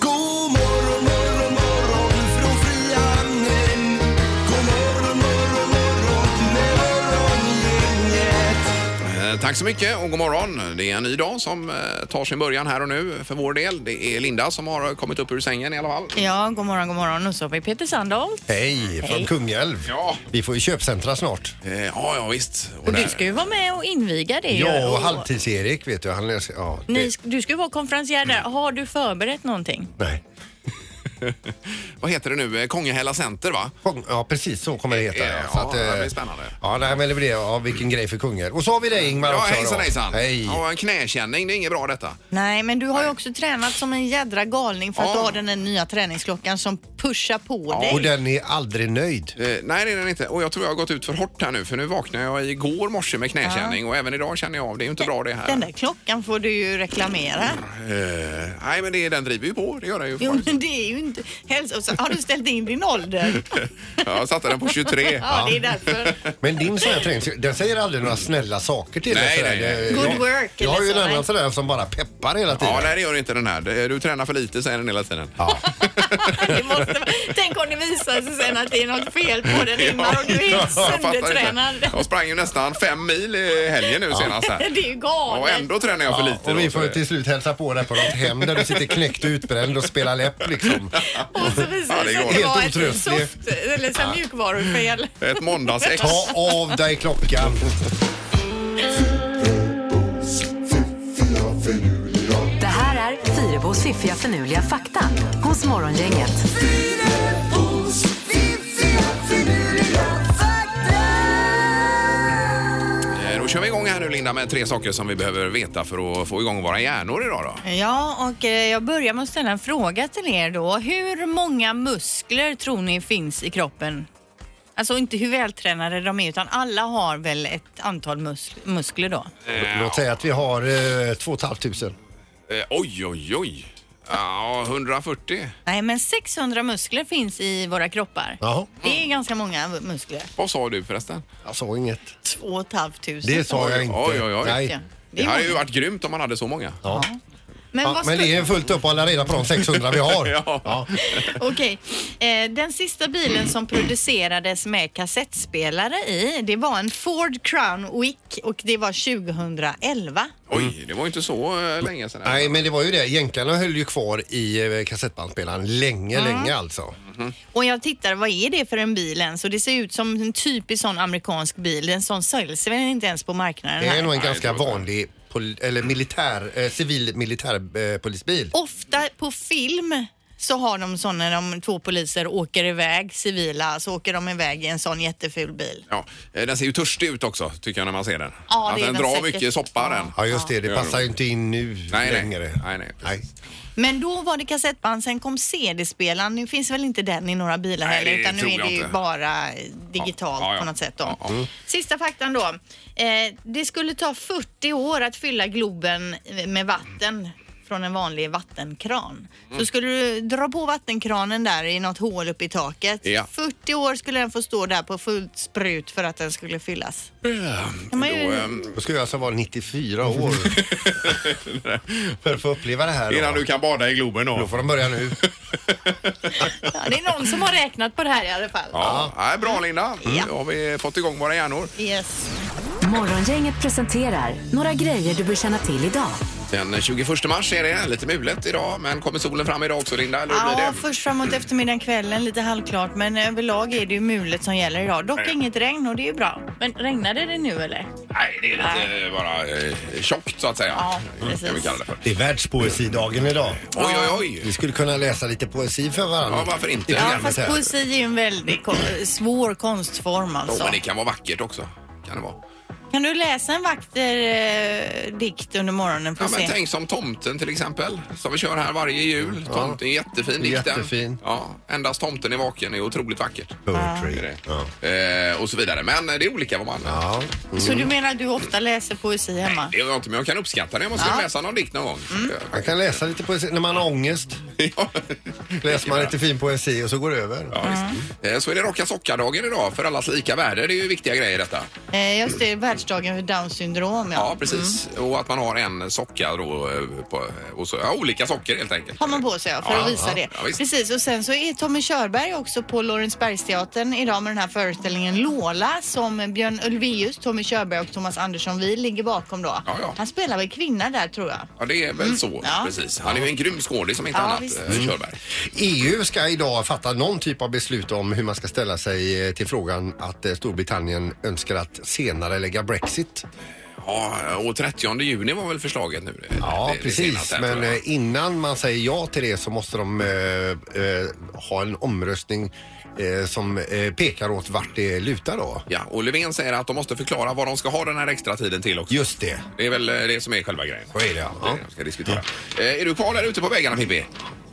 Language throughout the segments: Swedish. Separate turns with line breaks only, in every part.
God morgon morgon morgon från Frihamnen. God morgon morgon morgon med morgongänget.
Eh, Tack så mycket och god morgon. Det är en ny dag som eh, tar sin början här och nu för vår del. Det är Linda som har kommit upp ur sängen i alla fall.
Ja, god morgon, god morgon. Och så har vi Peter Sandholt.
Hej från
Hej.
Kungälv.
Ja.
Vi får ju köpcentra snart.
Eh, Ja, ja visst. Och
Och
där-
du ska ju vara med och inviga det. ju.
Ja, och
Och
halvtids-Erik vet du. Han läser, ja, det,
Ni, du ska ju vara konferencier där.
Mm.
Har du förberett någonting?
Nej.
Vad heter det nu? Eh, Kongahälla Center va?
Kung- Ja, precis så kommer det heta.
Ja,
eh,
det blir spännande.
Ja, nej, men det blir det. Ja, vilken grej för kungar. Och så har vi dig Ingmar
Ja,
också. då.
hejsan hejsan.
Hej.
Ja, en knäkänning, det är inget bra detta.
Nej, men du har ju också tränat som en jädra galning för att
Ja.
du har den här nya träningsklockan som pushar på
Och
dig.
den är aldrig nöjd.
Eh, nej, det är den inte. Och jag tror jag har gått ut för hårt här nu för nu vaknade jag igår morse med knäkänning och även idag känner jag av det. Det är ju inte bra det här.
Den där klockan får du ju reklamera.
Eh, nej, men det, den driver ju på. Det gör den ju.
Jo,
faktiskt.
men det är ju inte... Helst, och så har du ställt in din ålder?
jag satte den på 23.
Ja, det är därför.
Men din sån här träning, den säger aldrig några snälla saker till
Nej,
dig. sådär.
nej, nej.
Det-
Good
jag-
work,
Jag
eller
har ju
så,
en annan
nej.
sådär som bara peppar hela tiden.
Ja, nej, det gör inte den här. Det- Du tränar för lite, säger den hela tiden.
Ja.
Det måste, vara- tänk om det visar sig sen att det är något fel på den Ingmar och du är helt
Jag fattar inte.
söndertränad.
Jag sprang ju nästan fem mil i helgen nu senast. Här.
Det är ju
Ja,
galet.
Och ändå tränar jag för lite.
och
då,
vi
så
får
det-
till slut hälsa på dig på något hem där du sitter knäckt och utbränd och spelar läpp liksom.
Och så visade
Ja, det
det
går.
sig att det var
Helt
ett
otröstlig.
soft, eller så här mjukvarufel.
Ett måndagsex.
Ta av dig klockan.
Det här är Fyrabos fiffiga förnuliga fakta hos Morgongänget.
Fyrabos fiffiga finurliga fakta.
Eh, Då kör vi igång här nu Linda med tre saker som vi behöver veta för att få igång våra hjärnor idag då.
Ja, och eh, jag börjar med att ställa en fråga till er då. Hur många muskler tror ni finns i kroppen? Alltså inte hur vältränade de är, utan alla har väl ett antal musk- muskler då?
Låt säga att vi har eh, 2 500.
Eh, Oj, oj, oj. Ja, 140.
Nej, men 600 muskler finns i våra kroppar.
Jaha,
Det är ganska många muskler.
Vad sa du förresten?
jag sa inget.
2 500.
Det sa jag inte.
Oj, oj, oj.
Nej.
Det hade ju varit grymt om man hade så många.
Ja.
Men,
Ja,
vad
men
skulle-
det är fullt upp att hålla reda på de 600 vi har.
Ja.
Okej. Eh, den sista bilen som producerades med kassettspelare i, det var en Ford Crown Wick och det var 2011.
Oj, det var ju inte så eh, länge sedan.
Nej, men det var ju det. Jänkarna höll ju kvar i eh, kassettbandspelaren länge, länge alltså.
Och jag tittar, vad är det för en bil ens? Och det ser ut som en typisk sån amerikansk bil. En sån säljs väl inte ens på marknaden
Det är
här.
nog en
Nej,
ganska
det var det.
vanlig pol- eller militär, eh, civil militär eh, polisbil.
Ofta på film så har de sån när de två poliser åker iväg, civila, så åker de iväg i en sån jätteful bil.
Ja, eh, den ser ju törstig ut också, tycker jag när man ser den.
Ja, det
Att
är
den
den
drar
säkert.
mycket soppa den.
Ja, just det.
Ja,
Det
det
passar
var-
ju inte in nu
Nej, nej.
längre.
Nej, nej, precis.
Men då var det kassettband, sen kom CD-spelaren. Nu finns väl inte den i några bilar
Nej, det
heller utan nu
tror
är
jag
det ju
inte.
bara digitalt
Ja, ja, ja.
på något sätt då.
Ja, ja. Mm.
Sista faktan då. Eh, det skulle ta 40 år att fylla Globen med vatten från en vanlig vattenkran.
Mm.
Så skulle du dra på vattenkranen där i något hål uppe i taket.
Ja.
40 år skulle den få stå där på fullt sprut för att den skulle fyllas. Kan man ju...
Då, ehm,
Då ska jag alltså vara 94 år. För att få uppleva det här. då.
Innan du kan bada i Globen
Då
då.
får de börja nu.
ja, det är någon som har räknat på det här i alla fall.
Ja, nej, bra Linda. Mm,
Ja.
Då har vi fått igång våra hjärnor.
Yes.
Morgongänget presenterar några grejer du bör känna till idag.
Den 21 mars är det. Lite mulet idag, men kommer solen fram idag också Linda? Eller hur blir
Ja,
det?
först framåt eftermiddagen, kvällen, lite halvklart. Men överlag är det ju mulet som gäller idag. Dock inget regn och det är ju bra. Men regnade det nu eller?
Nej, det är lite eh, bara eh, tjockt så att säga. Mm,
Ja,
Kan vi
precis.
kalla det för.
Det är världspoesidagen idag.
Oj, oj, oj.
Vi skulle kunna läsa lite poesi för varandra.
Ja, varför inte?
I
Ja,
programmet
fast
här.
poesi är ju en väldigt ko- svår konstform
Jo,
alltså.
men det kan vara vackert också. Kan det vara.
Kan du läsa en vakter eh, dikt under morgonen? Får
Ja, men
se.
tänk som Tomten till exempel, som vi kör här varje jul. Tomten, jättefin dikt den.
Jättefin.
Ja, Endast tomten är vaken är otroligt vackert. Är
Poetry.
det.
Ja.
Eh, och så vidare. Men eh, det är olika vad man...
Ja.
Så du menar att du ofta läser poesi hemma?
Det gör jag inte, men jag kan uppskatta det om man ska läsa någon dikt någon gång.
Mm.
Man kan läsa lite poesi när man har ångest.
Ja.
Läser man lite fin poesi och så går det över.
Ja, visst. Eh, Så är det rocka sockardagen idag för allas lika värde. Det är ju viktiga grejer detta.
Eh, just det, världsdagen för Downs syndrom. Ja.
Ja, precis.
Mm.
Och att man har en socka då. eh, På, och så, ja, olika socker helt enkelt.
Har man på sig ja, för
Ja,
att visa
ja,
det.
ja, visst.
Precis, och sen så är Tommy Körberg också på Lorensbergsteatern idag med den här föreställningen Lola som Björn Ulvaeus, Tommy Körberg och Thomas Andersson vi ligger bakom då.
Ja, ja.
Han spelar väl kvinna där tror jag.
Ja, det är väl så.
Mm. Ja.
Precis. Han är ju en grym skådis som inte
Ja,
annat,
visst. Mm.
eh, Körberg.
EU E ska idag fatta någon typ av beslut om hur man ska ställa sig eh, till frågan att eh, Storbritannien önskar att senare lägga Brexit.
Ja, och 30 juni var väl förslaget nu? eh,
Ja,
det- det
precis.
senaste här,
Men
tror jag.
eh, innan man säger ja till det så måste de eh, eh, ha en omröstning eh, som eh, pekar åt vart det lutar då.
Ja, och Löfven säger att de måste förklara vad de ska ha den här extra tiden till också.
Just det.
Det är väl eh, det som är själva grejen.
Så är det, ja.
Det de ska diskutera. Eh, Är du kvar där ute på vägarna Pippi?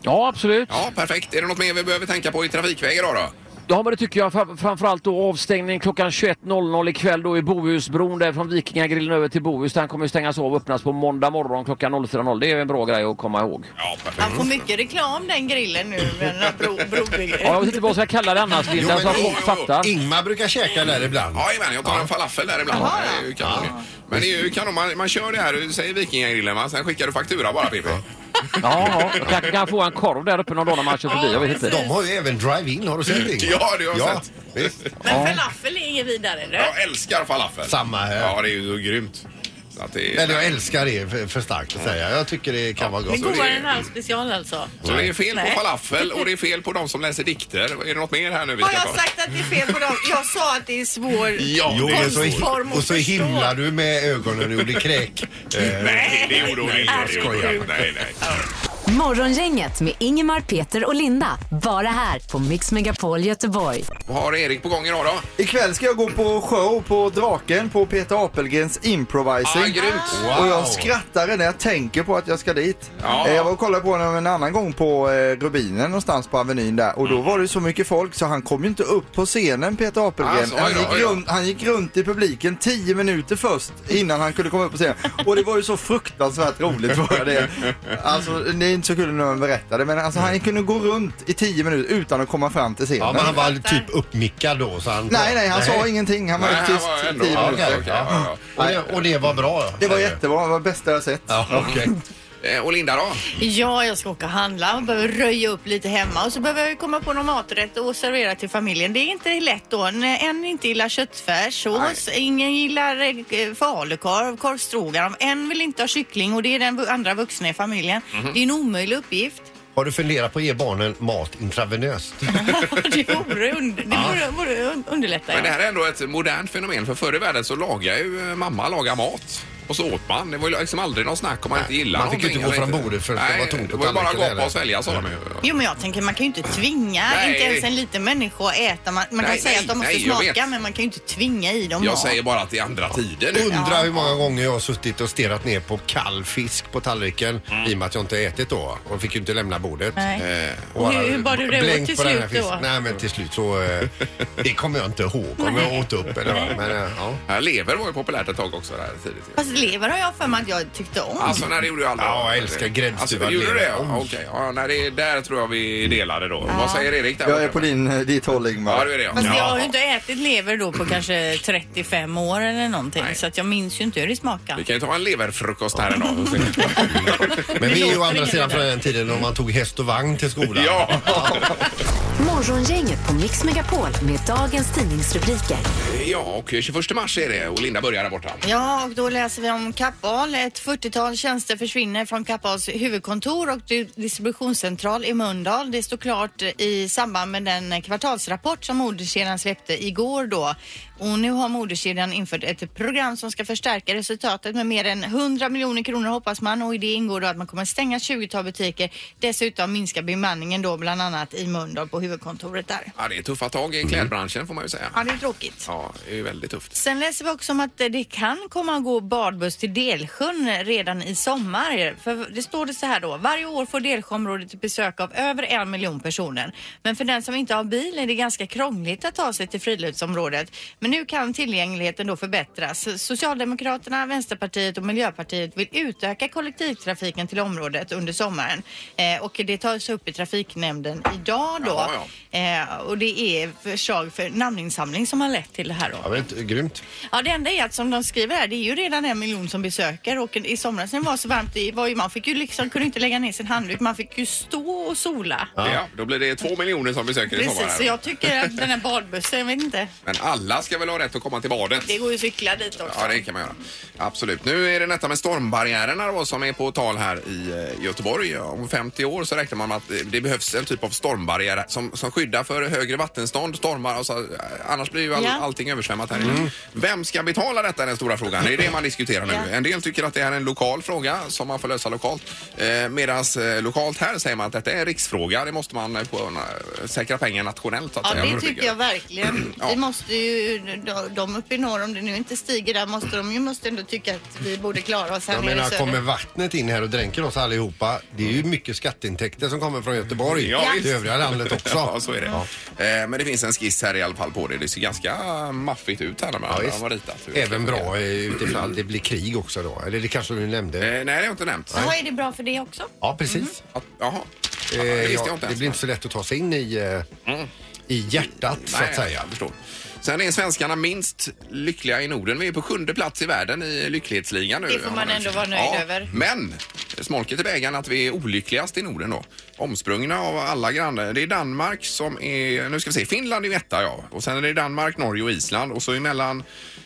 Ja, absolut.
Ja, perfekt. Är det något mer vi behöver tänka på i trafikvägar idag då?
Ja, men det tycker jag. Fra- Framförallt då avstängningen klockan 21.00 ikväll då i Bohusbron där från Vikingagrillen över till Bohus. Den kommer ju stängas av och öppnas på måndag morgon klockan 04.00. Det är ju en bra grej att komma ihåg.
Ja, perfekt.
Han får mycket reklam den grillen nu med den här bro, brobygget.
Ja, jag vet inte vad jag ska kalla det annars,
Jo,
Linda,
men
så att
det-
folk fattar.
Ingmar brukar käka där ibland.
Jajamän, jag tar en falafel där ibland. Det är ju kanon. ju. Men det är ju kanon, man, man kör det här, du säger vikingagrillen va? Sen skickar du faktura bara Pippi.
Ja, ja. Kanske kan få en korv där uppe någon dag när man kör förbi. Jag vet inte.
De har ju även drive-in, har du sett det? Ingmar?
Ja, det har jag
ja,
sett.
Visst.
Men falafel är inget vidare. du.
Jag älskar falafel.
Samma här.
Ja, det är ju så grymt. Så att det,
Eller
är,
jag älskar det, för, för starkt att säga. Jag tycker det kan vara
Men
gott.
godare än halv special alltså.
så det är fel
Nej.
på falafel och det är fel på de som läser dikter. Är det något mer här nu vi
Har
ska
jag
ta?
sagt att det är fel på dem? Jag sa att det är svår...
Ja,
Jo,
det är
och så,
Konstform att
och så
förstå.
himlar du med ögonen och gjorde kräk. Eh,
Nej, det gjorde hon inte. Det gjorde hon
skojar.
inte. Nej, nej.
Morgongänget med Ingemar, Peter och Linda. Bara här på Mix Megapol Göteborg.
Vad har Erik på gång idag då?
Ikväll ska jag gå på show på Draken på Peter Apelgrens
Ah,
improvising.
grymt!
Eh, Wow.
Och jag skrattar när jag tänker på att jag ska dit.
Ja.
Eh, Jag var och kollade på honom en annan gång på eh, Rubinen någonstans på Avenyn där och
Mm.
då var det så mycket folk så han kom ju inte upp på scenen Peter Apelgren.
Alltså, oj
han,
då, oj
gick
då.
runt, han gick runt i publiken 10 minuter först innan han kunde komma upp på scenen. Och det var ju så fruktansvärt roligt var det. Alltså det är inte så kul när man berättar det men alltså han kunde gå runt i 10 minuter utan att komma fram till scenen.
Ja, men han var typ uppmickad då. Så han,
Nej, nej, han sa ingenting. Han var
Nej,
nej,
han
tyst
var
i
ändå-
10
Ja,
minuter.
okej,
Okej, ja,
ja. Och, det, och det var bra?
Det var
säger du?
jättebra, det var det bästa jag sett.
Ja, okej.
Eh, Och Linda då?
Ja, jag ska åka och handla och behöver röja upp lite hemma och så behöver jag ju komma på någon maträtt och servera till familjen. Det är inte lätt då. N- En inte gillar köttfärssås, ingen gillar eh, falukorv, korv stroganoff, en vill inte ha kyckling och det är den vu- andra vuxna i familjen.
Mhm.
Det är en omöjlig uppgift.
Har du funderat på att ge barnen mat intravenöst?
det vore, und- det vore, vore un- underlätta.
Men det
Ja.
här är ändå ett modernt fenomen för förr i världen så lagade ju eh, mamma laga mat. Och så åt man. Det var ju liksom aldrig någon snack om man inte gillade
man fick ju
någonting
inte gå
eller
från bordet för att det
Nej,
var tomt
det
på
var ju bara
tallriken,
gapa och
eller?
svälja sa de ju.
Jo men jag tänker man kan ju inte tvinga
Nej.
inte ens en liten människa att äta. Man, man kan
Nej,
säga
nej,
att de måste
nej, jag
smaka
vet.
men man kan ju inte tvinga i dem
Jag
mat.
säger bara att det är andra tider nu.
Undrar hur många gånger jag har suttit och stirrat ner på kall fisk på tallriken i och med att jag inte har ätit då och fick ju inte lämna bordet.
Mm. Nej.
Eh,
Och hur- hur bar du det åt
blänkt
till
på den här
slut då?
fisken. Nej men till slut så, eh, det kommer jag inte ihåg om jag åt upp eller vad. Men eh, ja.
här lever var ju populärt ett tag också. Där, tidigt. ju.
Fast lever har jag för mig att jag tyckte om.
Alltså när det gjorde jag aldrig.
Ja, jag älskar gräddstuvad
Alltså, gjorde du det?
lever.
Ja, Okej, ja, när det är där tror jag vi delade då. Vad säger Erik? Där
Jag är
borta?
på din, eh, ditt håll Ingmar.
Ja, du är det. Ja.
Fast jag har ju
Ja.
inte ätit lever då på kanske 35 år eller någonting
Nej.
så att jag minns ju inte hur det
Vi
smakar.
kan ju ta en leverfrukost här en dag. och se.
Men vi är ju å
låter
andra
ingen
sidan från
vidare.
den tiden när man tog häst och vagn till skolan.
Ja,
Morgongänget på Mix Megapol med dagens tidningsrubriker.
ja, och 21 mars är det och Linda börjar där borta.
Ja, och då läser vi vi om Kappahl. Ett 40-tal tjänster försvinner från Kappahls huvudkontor och di- distributionscentral i Mölndal. Det står klart i samband med den kvartalsrapport som moderkedjan släppte igår då. Och nu har moderkedjan infört ett program som ska förstärka resultatet med mer än 100 miljoner kronor hoppas man och i det ingår då att man kommer stänga 20-tal butiker. Dessutom minska bemanningen då bland annat i Mölndal på huvudkontoret där.
Ja, det är tuffa tag i klädbranschen får man ju säga.
Ja, det är tråkigt.
Ja, det är ju väldigt tufft.
Sen läser vi också om att det kan komma att gå badbuss till Delsjön redan i sommar. För det står det så här då. Varje år får Delsjöområdet ett besök av över en miljon personer. Men för den som inte har bil är det ganska krångligt att ta sig till friluftsområdet. Men nu kan tillgängligheten då förbättras. Socialdemokraterna, Vänsterpartiet och Miljöpartiet vill utöka kollektivtrafiken till området under sommaren. Eh, och det tas upp i trafiknämnden idag då.
Jaha,
Eh, och det är förslag för namninsamling som har lett till det här då.
Jag vet, grymt.
Ja, det enda är att som de skriver här, det är ju redan en miljon som besöker och i somras när det var så varmt, det var ju, man fick ju liksom, kunde inte lägga ner sin handduk, man fick ju stå och sola.
Ja. då blir det två miljoner som besöker i sommar.
Precis,
här.
så jag tycker att den här badbussen, jag vet inte,
Men alla ska väl ha rätt att komma till badet?
det går ju att cykla dit också.
Ja, det kan man göra. Absolut. Nu är det detta med stormbarriärerna då, som är på tal här i eh, Göteborg. Om 50 år så räknar man med att eh, det behövs en typ av stormbarriär som, som skyddar för högre vattenstånd, stormar och så, eh, annars blir ju all,
Ja.
allting översvämmat här inne.
Mm.
Vem ska betala detta är den stora frågan. Det är det man diskuterar nu.
Ja.
En del tycker att det här är en lokal fråga som man får lösa lokalt. Eh, Medan eh, lokalt här säger man att detta är en riksfråga. Det måste man eh, på, eh, säkra pengar nationellt så att
Ja,
säga, för
det
att
tycker
bygga.
jag verkligen.
Ja.
Vi måste ju, de, de uppe i norr, om det nu inte stiger där, måste de ju måste ändå tycka att vi borde klara oss här
Jag
nere i
menar,
söder.
kommer vattnet in här och dränker oss allihopa, det är ju mycket skatteintäkter som kommer från Göteborg
Ja,
till
visst.
övriga landet också.
Ja, så är det. Eh, Men det finns en skiss här i alla fall på det. Det ser ganska maffigt ut här när man
Ja,
ja,
visst.
har ritat. Hur det
Även
ska
bra eh, utifall det blir krig också då. Eller det kanske du
fungera.
nämnde?
Eh, Nej, det har jag inte nämnt.
Jaha, är det bra för det också?
Ja, precis.
Att, jaha.
Eh,
Mm. det visste
ja,
jag inte
det
ens. Mm.
blir inte så lätt att ta sig in i, eh, i hjärtat så
Nej,
att säga.
Jag förstår. Sen är svenskarna minst lyckliga i Norden. Vi är på sjunde plats i världen i lycklighetsligan nu.
Det får man
har nämnts.
ändå vara nöjd över.
Men smolket i bägaren att vi är olyckligast i Norden då. Omsprungna av alla grannar. Det är Danmark som är, nu ska vi se, Finland är ju etta ja. Och sen är det Danmark, Norge och Island. Och så emellan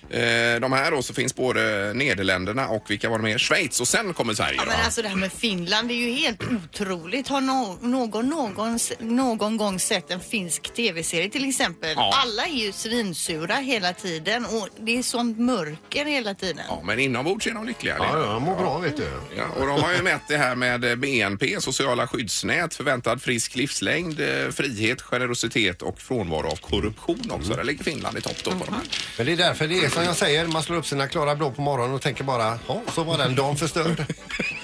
eh, de här då så finns både Nederländerna och vilka var de mer? Schweiz och sen kommer Sverige.
Ja,
då.
men alltså det här med Finland det är ju helt otroligt. Har no någon någons, någon gång sett en finsk tv-serie till exempel?
Ja.
Alla är ju svinsura hela tiden och det är sånt mörker hela tiden.
ja, men inombords är de lyckliga.
Ja, ja, mår bra vet du.
Ja, och de har ju mätt det här med eh, BNP, sociala skyddsnät, förväntad frisk livslängd, eh, frihet, generositet och frånvaro av korruption
Mm.
också. Där ligger Finland i topp då på de här.
Mm-hmm.
Men det är därför det är som jag säger, man slår upp sina klara blå på morgonen och tänker bara, ja, så var den dagen förstörd.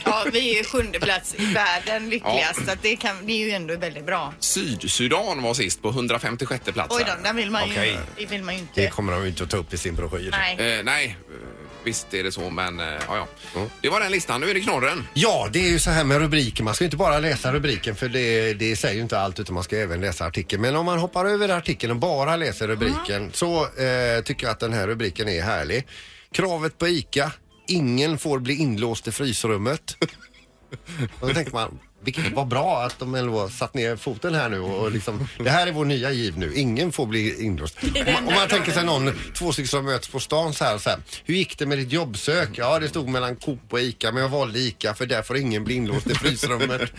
Ja, vi är ju sjunde plats i världen lyckligast.
Ja.
Så att det, kan, det är ju ändå väldigt bra.
Sydsudan var sist på 156 plats.
Oj
här.
då, den vill man ju,
Okej.
det vill man ju inte.
Det kommer de ju inte att ta upp i sin broschyr.
Nej. Mm.
Eh, nej, eh, visst är det så, men eh, ja, ja. Det var den listan. Nu är det knorren.
Ja, det är ju så här med rubriker. Man ska ju inte bara läsa rubriken för det, det säger ju inte allt utan man ska även läsa artikeln. Men om man hoppar över artikeln och bara läser rubriken så eh, tycker jag att den här rubriken är härlig. Kravet på ICA. Ingen får bli inlåst i frysrummet. och då tänker man, vilket var bra att de ändå satt ner foten här nu och liksom, det här är vår nya giv nu. Ingen får bli inlåst. Om man, om man tänker sig någon, två stycken som möts på stan så här, så här. Hur gick det med ditt jobbsök? Ja, det stod mellan Coop och ICA, men jag valde ICA för där får ingen bli inlåst i frysrummet.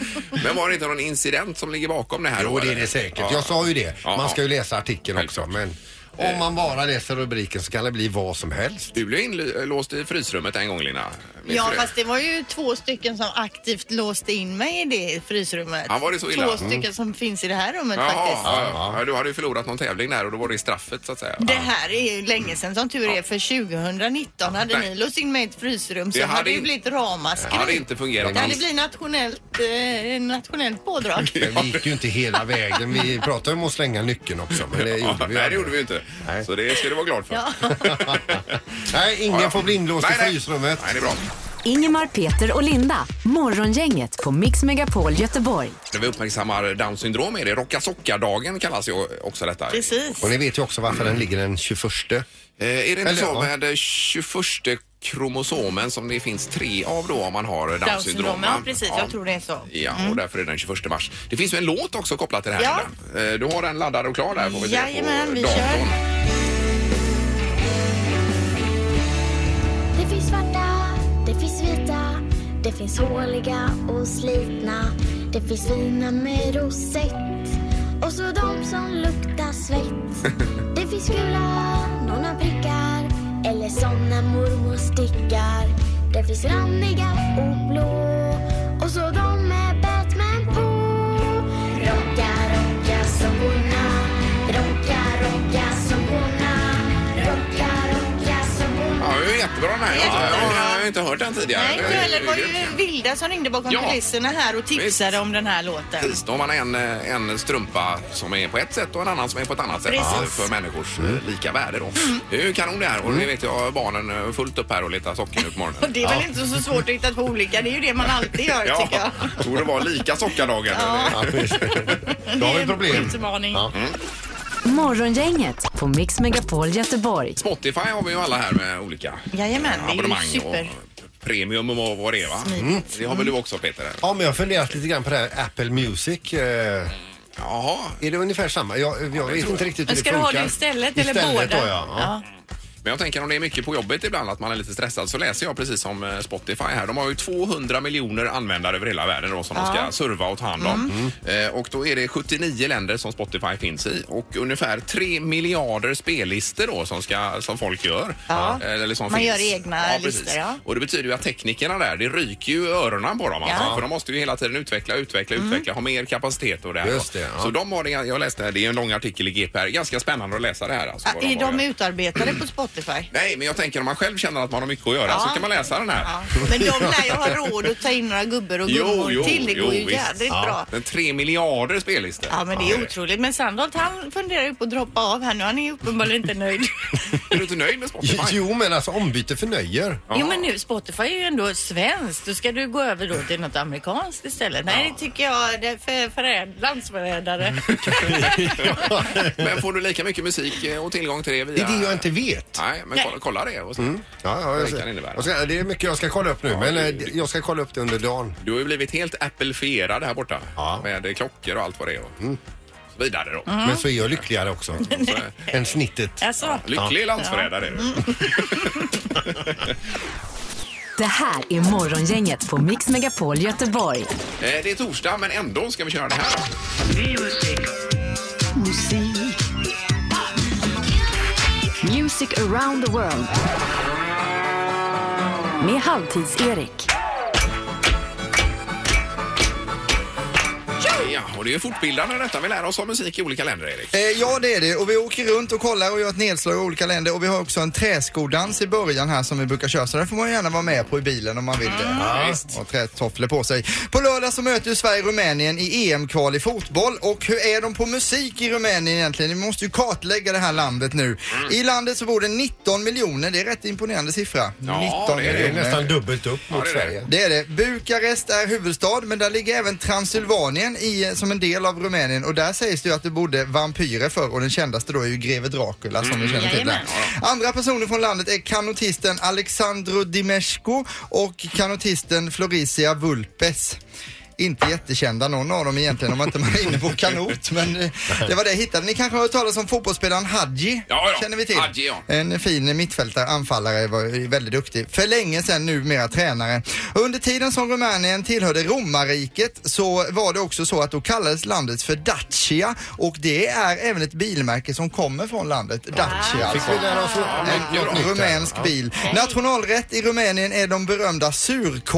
Men var det inte någon incident som ligger bakom det här? då,
Jo, det är
eller?
det säkert.
Ja.
Jag sa ju det.
Ja,
Man ska
ja.
ju läsa artikeln också, men om man bara läser rubriken så kan det bli vad som helst.
Du blev inlåst i frysrummet en gång, Lina. Minns
Ja,
du det?
fast det var ju två stycken som aktivt låste in mig i det frysrummet.
Ja, var det så illa? Mm.
Två stycken som finns i det här rummet
Jaha,
faktiskt.
ja, ja. Du hade ju förlorat någon tävling där och då var det i straffet så att säga.
Det här är ju länge sedan som tur är för 2019 hade
Nej.
ni låst in mig i ett frysrum
Det
så
hade
hade det ju
in-
blivit ramaskri.
Det hade inte fungerat
Det hade
alls.
blivit nationellt, eh, nationellt pådrag.
Men vi gick ju inte hela vägen. Vi pratade om att slänga nyckeln också, men det gjorde
Nej,
vi ju
det
aldrig.
gjorde vi ju inte.
Nej.
Så det ska du vara glad för.
Ja.
Nej, ingen
Ja, ja.
får bli inlåst
Nej,
i
nej.
frysrummet.
Nej, det är bra.
Ingemar, Peter och Linda. Morgongänget på Mix Megapol Göteborg.
När vi uppmärksammar Down syndrom är det rocka socka-dagen kallas ju också detta.
Precis.
Och ni vet ju också varför den ligger den 21.
Eh, är det inte
Eller,
så
ja.
med eh, 21 kromosomen som det finns tre av då om man har Down,
Down
syndrom?
syndrom. Ja, precis. Jag tror det är så.
Ja, och därför är det den 21 mars. Det finns ju en låt också kopplat till det här.
Ja.
Linda. Eh, Du har den laddad och klar där får vi se på
Jajamän, vi
datorn.
kör.
Det finns svarta Det finns vita, det finns håliga och slitna. Det finns vina med rosett och så de som luktar svett. Det finns gula, någon har prickar eller såna mormor stickar. Det finns randiga och blå och så de med Batman på. Rocka, rocka som hona. Rocka, rocka som hona. Rocka, rocka som hona.
Ja, det är jättebra den här.
Jättebra.
Ja, jag har inte hört den tidigare.
Nej, inte heller. Det var
Det är
ju Vilda som ringde bakom
Ja.
kulisserna här och tipsade
Visst.
om den här låten.
Precis, då har man en, eh, en strumpa som är på ett sätt och en annan som är på ett annat sätt
Precis. Mm.
för människors eh, lika värde. Då. Det är ju kanon det här och det vet jag barnen eh, fullt upp här och letar socker nu på morgonen.
Och det är väl inte så svårt att hitta på olika. Det är ju det man alltid gör tycker jag.
tror det var lika Eh, sockardagen. eller?
Ja, precis. Då har vi
Det är en
problem.
utmaning.
Ja.
Morgongänget på Mix Megapol Göteborg.
Spotify har vi ju alla här med olika
Jajamän, det är ju
abonnemang
super. Mm.
och premium och vad det är va? Mm. Det har väl du också Peter?
Ja, men jag har funderat lite grann på det här Apple Music. Eh,
Jaha,
är det ungefär samma? Jag, jag vet inte riktigt
Men
hur det
ska
funkar.
du ha det istället eller
Istället
båda?
Då, ja. Ja.
men jag tänker om det är mycket på jobbet ibland att man är lite stressad så läser jag precis som eh, Spotify här. De har ju 200 miljoner användare över hela världen då som de ska serva och ta hand om.
Mm.
Eh, och då är det 79 länder som Spotify finns i och ungefär 3 miljarder spellistor då som, ska, som folk gör.
Ja.
Eh, Eller som
Man
finns.
gör egna
precis.
listor, ja.
Och det betyder ju att teknikerna där, det ryker ju öronen på dem. Alltså,
Ja. Mm.
För de måste ju hela tiden utveckla, utveckla, utveckla, ha mer kapacitet och det här.
Just det, ja.
Så de har det, jag läste här, det är en lång artikel i GPR, ganska spännande att läsa det här. Alltså,
Ja,
vad
Är
har
de
gjort.
utarbetade på Spotify?
Nej, men jag tänker om man själv känner att man har mycket att göra
Ja.
så kan man läsa den här.
Ja. Men de lär ju ha råd att ta in några gubbor och
Jo,
gummor
jo,
till. Det går
jo,
ju
visst.
jädrigt
Ja.
bra.
Den tre miljarder spellistor.
Ja men det är otroligt. Men Sandholt han funderar ju på att droppa av här nu. Han är ju uppenbarligen inte nöjd.
Är du inte nöjd med Spotify?
Jo, men alltså ombyte förnöjer.
Jo men nu Spotify är ju ändå svenskt. Då ska du gå över då till något amerikanskt istället. Nej det tycker jag det är för, för landsförrädare.
Men får du lika mycket musik eh, och tillgång till det
Det
via...
är det jag inte vet.
Nej, men
Nej. Mm.
kolla, kolla det. Och så.
Ja, ja,
Det
jag
kan
ser.
innebära.
Jag ska, det är mycket jag ska kolla upp nu, men eh, jag ska kolla upp det under dagen.
Du har ju blivit helt appelfierad här borta
Ja.
med eh, klockor och allt vad det är.
Mm.
Och så vidare då.
Men så är jag lyckligare också eh, än snittet.
Alltså,
Lycklig landsförrädare är du.
Mm.
Det här är Morgongänget på Mix Megapol Göteborg.
Eh, Det är torsdag, men ändå ska vi köra det här.
Music around the world. Med Halvtids-Erik.
Ja, och det är ju fortbildande detta. Vi lär oss om musik i olika länder, Erik.
Eh, ja, det är det. Och vi åker runt och kollar och gör ett nedslag i olika länder. Och vi har också en träskodans i början här som vi brukar köra. Så den får man gärna vara med på i bilen om man vill det.
Ah,
Och trätofflor på sig. På lördag så möter ju Sverige Rumänien i EM-kval i fotboll. Och hur är de på musik i Rumänien egentligen? Vi måste ju kartlägga det här landet
Mm.
nu. I landet så bor det 19 miljoner. Det är rätt imponerande siffra.
Ja,
19
det är det.
Det är
miljoner.
nästan dubbelt upp mot
det är det.
Sverige.
Det är det. Bukarest är huvudstad men där ligger även Transylvanien i, eh, som en del av Rumänien och där sägs det ju att det bodde vampyrer förr och den kändaste då är ju greve Dracula som vi
Mm,
känner till där.
Jajamän.
Andra personer från landet är kanotisten Alexandro Dimescu och kanotisten Floricia Vulpes. Inte jättekända någon av dem egentligen om man inte är inne på kanot men eh, det var det jag hittade. Ni kanske har hört talas om fotbollsspelaren Hadji?
Ja, ja.
Känner vi till?
Hadji, ja.
En fin mittfältare, anfallare, var väldigt duktig. För länge sedan numera tränare. Under tiden som Rumänien tillhörde romarriket så var det också så att då kallades landet för Dacia och det är även ett bilmärke som kommer från landet. Dacia
Fick
alltså.
vi lära oss något nytt här?
En rumänsk bil. Nationalrätt i Rumänien är de berömda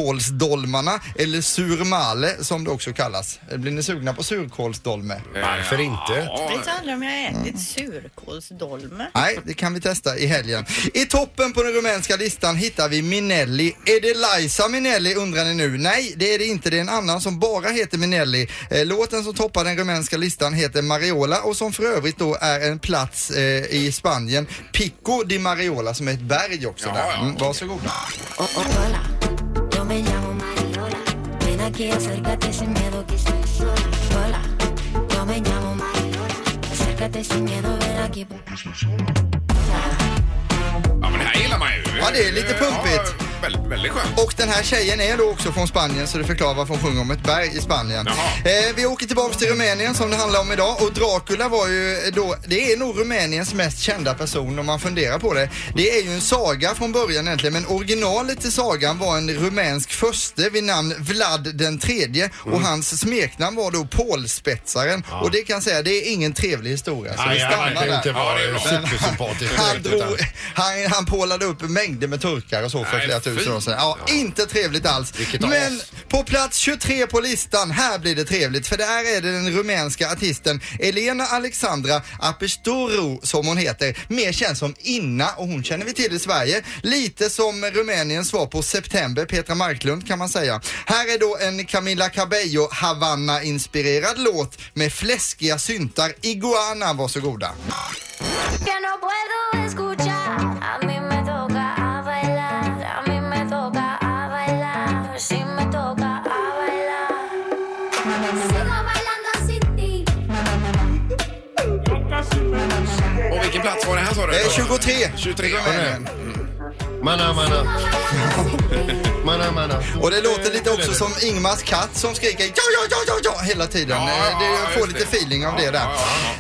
surkålsdolmarna, eller surmale som det också kallas. Blir ni sugna på surkålsdolme?
Varför
Eh,
inte?
jag vet aldrig om jag har ätit surkålsdolme.
Nej, det kan vi testa i helgen. I toppen på den rumänska listan hittar vi Minelli. Är det Liza Minelli undrar ni nu? Nej, det är det inte. Det är en annan som bara heter Minelli. Eh, Låten som toppar den rumänska listan heter Mariola och som för övrigt då är en plats eh, i Spanien, Pico di Mariola, som är ett berg också
Ja,
där.
ja.
Mm, varsågoda.
Hola, yo me llamo Mariola. Ven aquí, acércate sin miedo que estoy sola. Hola, yo me llamo Mariola. Acércate sin miedo, ven aquí porque estoy sola.
Ja, men det här gillar man ju.
Ja, det är lite pumpigt.
Väl, väldigt skönt.
Och den här tjejen är då också från Spanien så det förklarar varför hon sjunger om ett berg i Spanien.
Jaha.
Eh, vi åker tillbaks till Rumänien som det handlar om idag och Dracula var ju då, det är nog Rumäniens mest kända person om man funderar på det. Det är ju en saga från början egentligen men originalet till sagan var en rumänsk furste vid namn Vlad den tredje och hans smeknamn var då Pålspetsaren och det kan jag säga det är ingen trevlig historia. Så vi
Nej, han
stannar
verkar
där.
inte
Ja,
vara
det är bra.
supersympatisk. alltså.
Han,
direkt, utan-
drog, han, han pålade upp mängder med turkar och så för
Nej,
flera tusen
fy.
år sedan. Ja, inte trevligt alls.
Vilket
Men
as.
på plats 23 på listan, här blir det trevligt för där är det den rumänska artisten Elena Alexandra Apistoru som hon heter, mer känd som Inna och hon känner vi till i Sverige. Lite som Rumäniens svar på September, Petra Marklund kan man säga. Här är då en Camila Cabello Havanna-inspirerad låt med fläskiga syntar. Iguana, varsågoda.
Que no puedo escuchar, a mí me toca a bailar, a mí me toca a bailar, sí me toca a bailar. Sigo bailando sin ti.
Och vilken plats var det här sa du?
Eh, 23.
23.
Rumänien.
Manna, manna, manna, manna.
Och det låter lite också som Ingmars katt som skriker ja, ja, ja, ja, ja hela tiden.
Ja, ja,
Eh, det, jag
ja,
får
just
lite
det.
feeling av
Ja,
det där.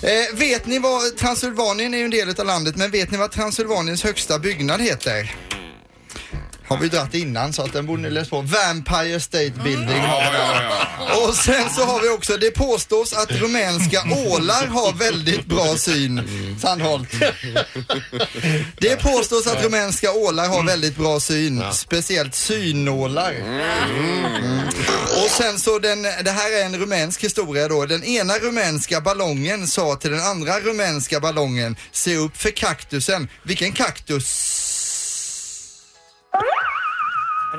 ja,
Eh, vet ni vad, Transylvanien är ju en del av landet, men vet ni vad Transylvaniens högsta byggnad
Mm.
heter? Har vi dratt innan så att den borde ni läst på. Vampire State Building har vi.
Ja, ja, ja.
Och sen så har vi också, det påstås att rumänska ålar har väldigt bra syn. Sandholt. Det påstås att rumänska ålar har väldigt bra syn. Speciellt synålar. Mm. Och sen så den, det här är en rumänsk historia då. Den ena rumänska ballongen sa till den andra rumänska ballongen, se upp för kaktusen. Vilken kaktus?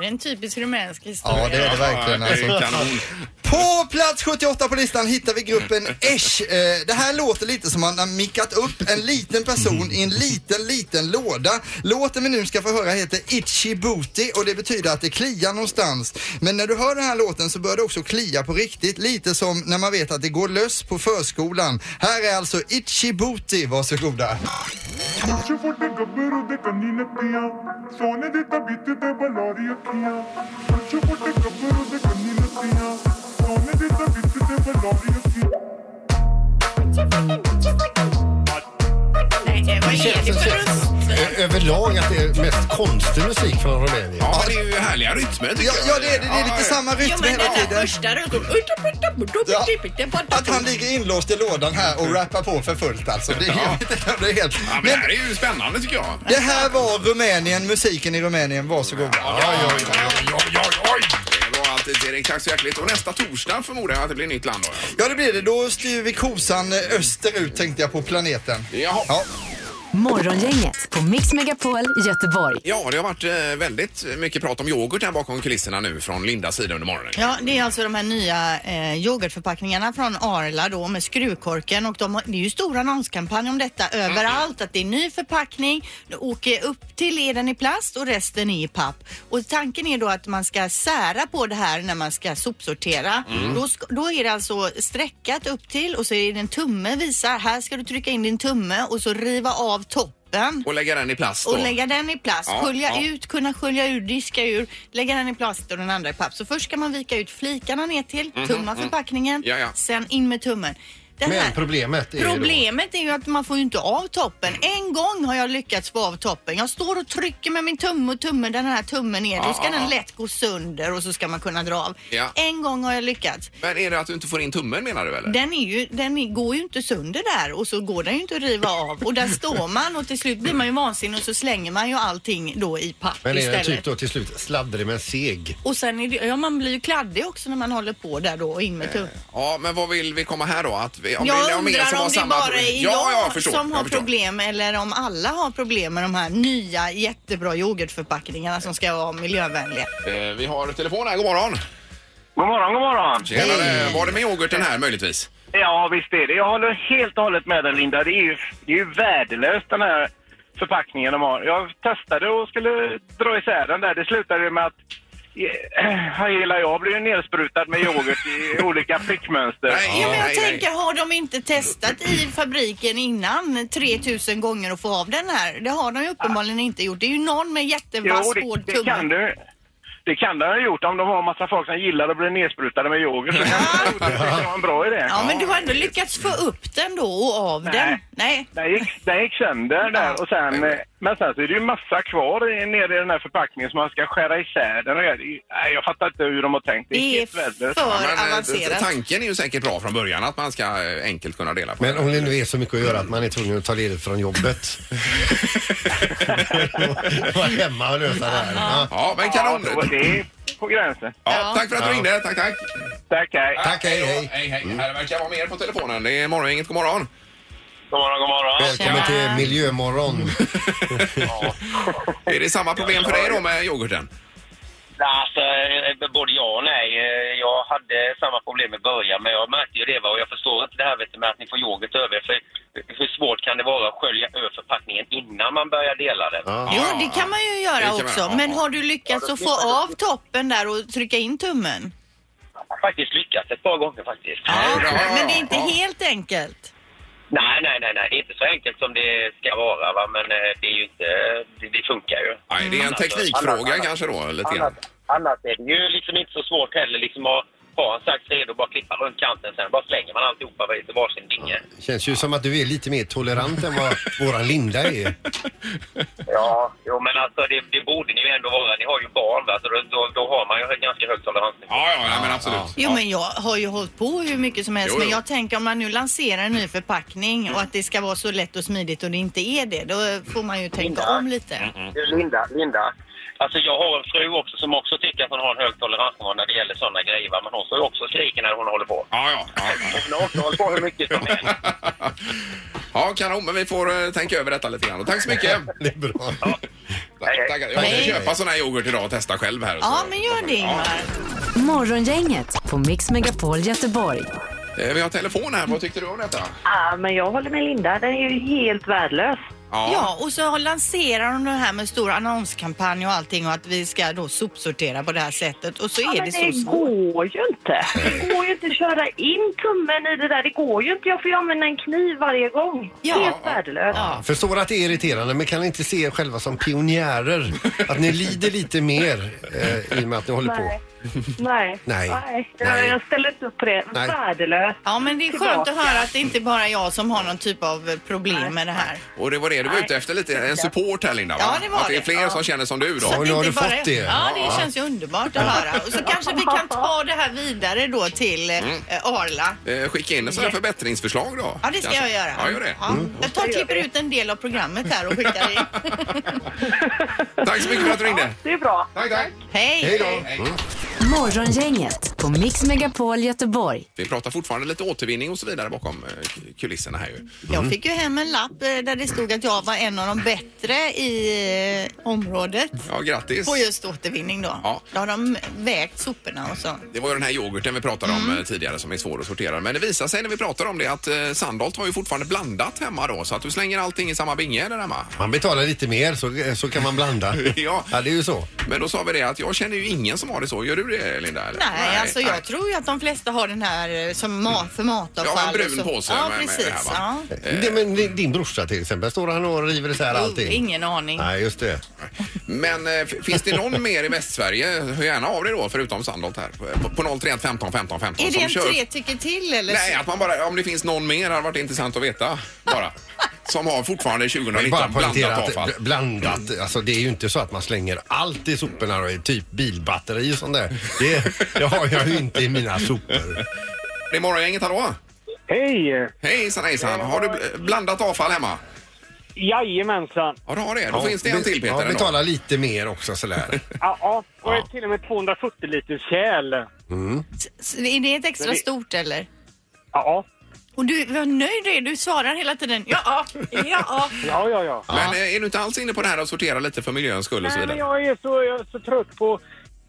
Det är en typisk rumänsk historia.
Ja, det är det verkligen
Ja, det
alltså.
är kanon.
På plats 78 på listan hittar vi gruppen Esh. Eh, Det här låter lite som man har mickat upp en liten person i en liten, liten låda. Låten vi nu ska få höra heter Itchy Booty och det betyder att det kliar någonstans. Men när du hör den här låten så bör det också klia på riktigt. Lite som när man vet att det går löss på förskolan. Här är alltså Itchy Booty, varsågoda.
Nej, vad
Det
är
känns
det
som
för
känns, ö- överlag att det är mest konstig musik från Rumänien.
Ja, det är ju härliga rytmer tycker
Ja,
jag.
ja det är det. Det är
Ja,
lite
ja.
samma
Jo,
rytm
men
hela
den där
tiden.
första rundan.
Ja. Att han ligger inlåst i lådan här och rappar på för fullt alltså. Det, jag vet inte om det är helt...
Ja, men det här är ju spännande tycker jag.
Det här var Rumänien, musiken i Rumänien. Varsågoda.
Oj, oj, oj, oj, oj, oj. Det var alltid Erik. Tack så hjärtligt. Och nästa torsdag förmodar jag att det blir nytt land då.
Ja, det blir det. Då styr vi kosan eh, österut tänkte jag på planeten.
Jaha.
Ja.
Morgongänget på Mix Megapol Göteborg.
Ja, det har varit eh, väldigt mycket prat om yoghurt här bakom kulisserna nu från Lindas sida under morgonen.
Ja, det är alltså de här nya eh, yoghurtförpackningarna från Arla då med skruvkorken och de har, det är ju stor annonskampanj om detta överallt att det är ny förpackning och eh, upp till är den i plast och resten är i papp. Och tanken är då att man ska sära på det här när man ska sopsortera. Då, sk- då är det alltså streckat upp till och så är det en tumme visar. Här ska du trycka in din tumme och så riva av toppen.
Och lägga den i plast då.
Och lägga den i plast,
Ja,
skölja
ja.
ut, kunna skölja ur, diska ur, lägga den i plast och den andra i papp. Så först ska man vika ut flikarna ner till, tumma förpackningen,
Mhm, Ja, ja.
sen in med tummen. Det
Men
här-
problemet är ju då-
Problemet är ju att man får ju inte av toppen. En gång har jag lyckats få av toppen. Jag står och trycker med min tumme och tummen, den här tummen ner. Då ska
Ja, ja, ja.
den lätt gå sönder och så ska man kunna dra av.
Ja.
En gång har jag lyckats.
Men är det att du inte får in tummen menar du eller?
Den, är ju, den är, går ju inte sönder där och så går den ju inte att riva av och där står man och till slut blir man ju vansinnig och så slänger man ju allting då i papp
Men är den
istället.
typ då till slut sladdrig men seg?
Och sen är det, ja man blir ju kladdig också när man håller på där då och in med tummen.
Ja, men vad vill vi komma här då? Att vi, Eh, om det är
Jag
om er som
undrar
har
om det
samma
bara
problem.
är
ja,
jag
jag förstår,
som
jag
har
förstår.
problem eller om alla har problem med de här nya jättebra yoghurtförpackningarna som ska vara miljövänliga.
Eh, vi har telefon här, god morgon.
God morgon, god morgon.
Tjenare, var det med yoghurten här möjligtvis?
Ja, visst är det. Jag håller helt och hållet med dig, Linda. Det är ju, det är ju värdelöst, den här förpackningen de har. Jag testade och skulle dra isär den där. Det slutade ju med att eh, hela jag blev ju nersprutad med yoghurt i olika prickmönster.
Ja, men jag tänker, har de inte testat i fabriken innan 3000 gånger att få av den här? Det har de ju uppenbarligen inte gjort. Det är ju någon med jättevass
Jo, det-
hård
det kan
tumme.
du. Det kan de ha gjort om de har en massa folk som gillar att bli nersprutade med yoghurt. Så kan de ha gjort det. Det kan vara en bra idé.
Ja, men du har ändå lyckats få upp den då och av
Nej.
den. Nej.
Den gick, den gick sönder där och sen, eh, men sen så är det ju massa kvar i, nere i den här förpackningen som man ska skära isär den. och göra- Nej, jag fattar inte hur de har tänkt. Det är helt värdelöst.
men, eh, Tanken är ju säkert bra från början att man ska eh, enkelt kunna dela på
Men om det nu är så mycket att göra att man är tvungen att ta ledigt från jobbet. Vara hemma och lösa det här. Ja.
Ja, men kanon.
Ja, då- det är på gränsen.
Ja, tack för att du ringde. Tack, tack.
Tack, hej.
Tack, hej, hej.
Hej, hej. Här verkar vara mer på telefonen. Det är morgongänget. God morgon.
God morgon, god morgon.
Välkommen till Miljömorgon.
Är det samma problem för dig då med yoghurten?
Nej, Alltså, eh, både ja och nej. Eh, Jag hade samma problem i början, men jag märkte ju det. Va? Och jag förstår inte det här vet du, med att ni får yoghurt över. För hur svårt kan det vara att skölja över förpackningen innan man börjar dela den?
Jo, det kan man ju
Det
göra
kan man-
också.
ja.
Men har du lyckats att få av toppen där och trycka in tummen?
Jag har faktiskt lyckats ett par gånger faktiskt.
Men det är inte helt enkelt.
Nej, nej, nej, nej. Det är inte så enkelt som det ska vara. Va? Men eh, det är ju inte... Det, det funkar ju.
Nej, det är en
Annars-
teknikfråga
annars-
kanske då, lite
annars-
grann.
Annars är det ju liksom inte så svårt heller liksom att ha en sax redo och bara klippa runt kanten. Sen bara slänger man alltihopa i varsin dinge.
Känns ju som att du är lite mer tolerant än vad våran Linda är.
Ja, jo, men alltså det, det borde ni ju ändå vara. Ni har ju barn, va? så då, då, då har man ju ett ganska högt toleransnivå.
Ja, ja, men absolut.
Jo, men jag har ju hållit på hur mycket som helst.
Jo,
Men
jo.
jag tänker om man nu lanserar en ny förpackning och att det ska vara så lätt och smidigt och det inte är det. Då får man ju tänka om lite.
Mm,
Du, Linda, Linda. Alltså jag har en fru också som också tycker att hon har en hög toleransnivå när det gäller sådana grejer. Va? Men hon står ju också och skriker när hon håller på.
Ja, ja.
Hon har också hållit på hur mycket som helst.
Ja, kanon. Men vi får eh, tänka över detta lite grann. Och Tack så mycket.
det är bra.
Tack, tack. Jag ska
Hej.
köpa sån här yoghurt idag och testa själv här.
Ja,
Så.
men
Gör det Ingmar.
Morgongänget på Mix Megapol Göteborg.
Eh, Vi har telefon här. Vad tyckte du om detta?
Ja, men jag håller med Linda. Den är ju helt värdelös.
Ja.
Ja, och så lanserar de det här med stor annonskampanj och allting och att vi ska då sopsortera på det här sättet och så
Ja,
är
men
det
det
så svårt.
går ju inte. Det går ju inte att köra in tummen i det där. Det går ju inte. Jag får ju använda en kniv varje gång. Helt värdelöst.
Förstår att det är irriterande men kan inte se er själva som pionjärer. Att ni lider lite mer eh, i och med att ni håller på.
Nej. Nej.
Nej.
Jag- Jag ställer inte upp på det.
Nej.
Värdelöst.
Ja, men det är skönt att höra att det inte bara är jag som har någon typ av problem med det här.
Och det var det du var ute efter lite. En support här Linda va?
Ja, det var
Att det är
det.
fler som känner som du då.
Så att inte bara- Ja, det känns ju underbart att höra. Och så kanske vi kan ta det här vidare då till eh,
Mm.
Arla.
Eh, Skicka in sådana här förbättringsförslag då.
Ja, det ska
kanske.
jag göra.
Ja, gör det. Mm.
Ja. Jag tar och klipper ut en del av programmet här och skickar in.
Tack så mycket för att du ringde.
Det är bra.
Tack, tack.
Hej.
Morgongänget på Mix Megapol Göteborg.
Vi pratar fortfarande lite återvinning och så vidare bakom eh, kulisserna här ju.
Jag fick ju hem en lapp eh, där det stod att jag var en av de bättre i eh, området.
Ja, grattis.
På just återvinning då.
Ja.
Då har de vägt soporna och så.
Det var ju den här yoghurten vi pratade om
Mm.
eh, tidigare som är svår att sortera. Men det visar sig när vi pratar om det att eh, Sandholt har ju fortfarande blandat hemma då så att du slänger allting i samma binge där hemma.
Man betalar lite mer så, så kan man blanda.
Ja.
det är ju så.
Men då sa vi det att jag känner ju ingen som har det så. Gör du det Linda? Eller?
Nej, alltså jag tror ju att de flesta har den här eh, som mat för matavfall.
Ja, Mm. en brun
och så.
påse
Ja,
med- med
precis.
det här, va?
ja.
Det, men din- din brorsa till exempel, står han och river isär allting?
Oh, Ingen aning.
Nej, just det.
Men eh, f- finns det någon mer i Västsverige? Hör gärna av dig då förutom Sandholt här på, på 031 15 15 15.
Är
som
det en
kör-
tre tycker till eller?
Nej, att man bara, om det finns någon mer hade varit intressant att veta bara. Som har fortfarande
Men
2019
bara poängtera
blandat
att
avfall.
bl- blandat, alltså det är ju inte så att man slänger allt i soporna och i typ bilbatteri och sånt där. Det, det har jag ju inte i mina sopor.
Det är morgongänget, hallå?
Hej!
Hejsan hejsan. Har du bl- blandat avfall hemma?
Jajamensan.
Ja, du har det. Då finns det en till Peter.
Ja,
ändå.
betala lite mer också sådär.
Ja, ja. och till och med 240 liter kärl.
Mm.
Så Är det ett extra
Men det-
stort eller?
Ja.
Och du, vad nöjd du är. Du svarar hela tiden ja, ja.
Ja, ja, ja.
Men eh, är du inte alls inne på det här att sortera lite för miljöns skull och så
Nej, men
vidare?
jag är så, jag är så trött på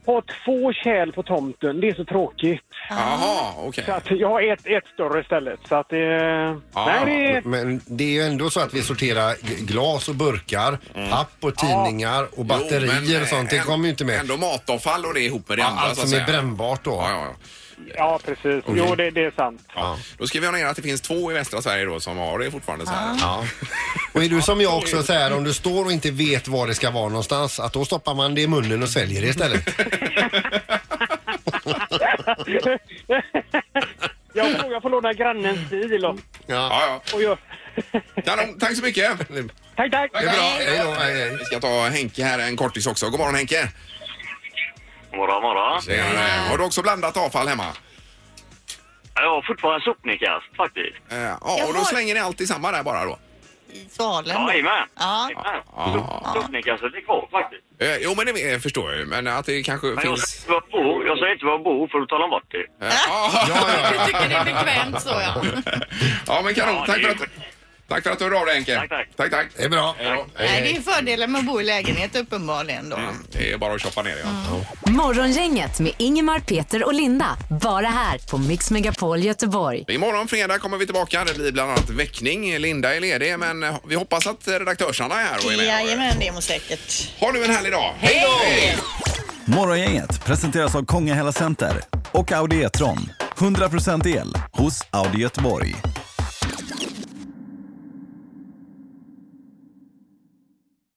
ha två kärl på tomten, det är så tråkigt.
Jaha, okej.
Så att jag har ett, ett större istället. Så att, eh, nej, det är...
Men det är ju ändå så att vi sorterar g- glas och burkar, papp och tidningar och batterier
Mm. Jo, men,
och sånt. Det
eh,
kommer ju inte med.
Ändå matavfall och det ihop med det
Ja,
andra.
allt
så att
som är
säga.
brännbart då.
Ja, ja, ja.
Ja, precis. Jo, det, det är sant.
Ja. Då skriver jag ner att det finns två i västra Sverige då som har det fortfarande så
Ah.
här.
Ja. Och är du som jag också så här, om du står och inte vet var det ska vara någonstans, att då stoppar man det i munnen och sväljer det istället.
Jag får, jag får låna grannens bil. Och,
Ja,
och jag...
Kanon, tack så mycket!
Tack, tack!
Det är bra. Hej då, hej, hej. Vi ska ta Henke här en kortis också. God morgon Henke!
Morgon, morgon.
Tjenare. Har du också blandat avfall hemma?
Jag har fortfarande sopnedkast faktiskt.
Eh, Ja, och då slänger ni allt i samma där bara då?
I svalen. då.
Jajamän.
Ja.
Ja.
Sopnedkastet är kvar faktiskt.
Eh, Jo, men det eh, förstår jag ju. Men att det kanske
Men jag
finns...
säger inte var jag bor, jag säger inte var jag bor för då tar de bort det.
Ja, ja,
Du tycker det är bekvämt så ja.
ja men kanon.
Ja,
tack,
det
för
är
att, tack för att du hörde av dig Henke. Tack, tack. tack, Eh,
Det är bra.
Nej, det är ju fördelen med att bo i lägenhet uppenbarligen då.
Det är bara att shoppa ner det. Ja.
Morgongänget med Ingemar, Peter och Linda. Bara här på Mix Megapol Göteborg.
Imorgon fredag kommer vi tillbaka. Det blir bland annat väckning. Linda är ledig, men eh, vi hoppas att redaktörsarna är här och är med.
Jajamän, det är säkert.
Ha nu en härlig dag. Hej
Morgongänget presenteras av Kongahälla Center och Audi E-tron. 100% el hos Audi Göteborg.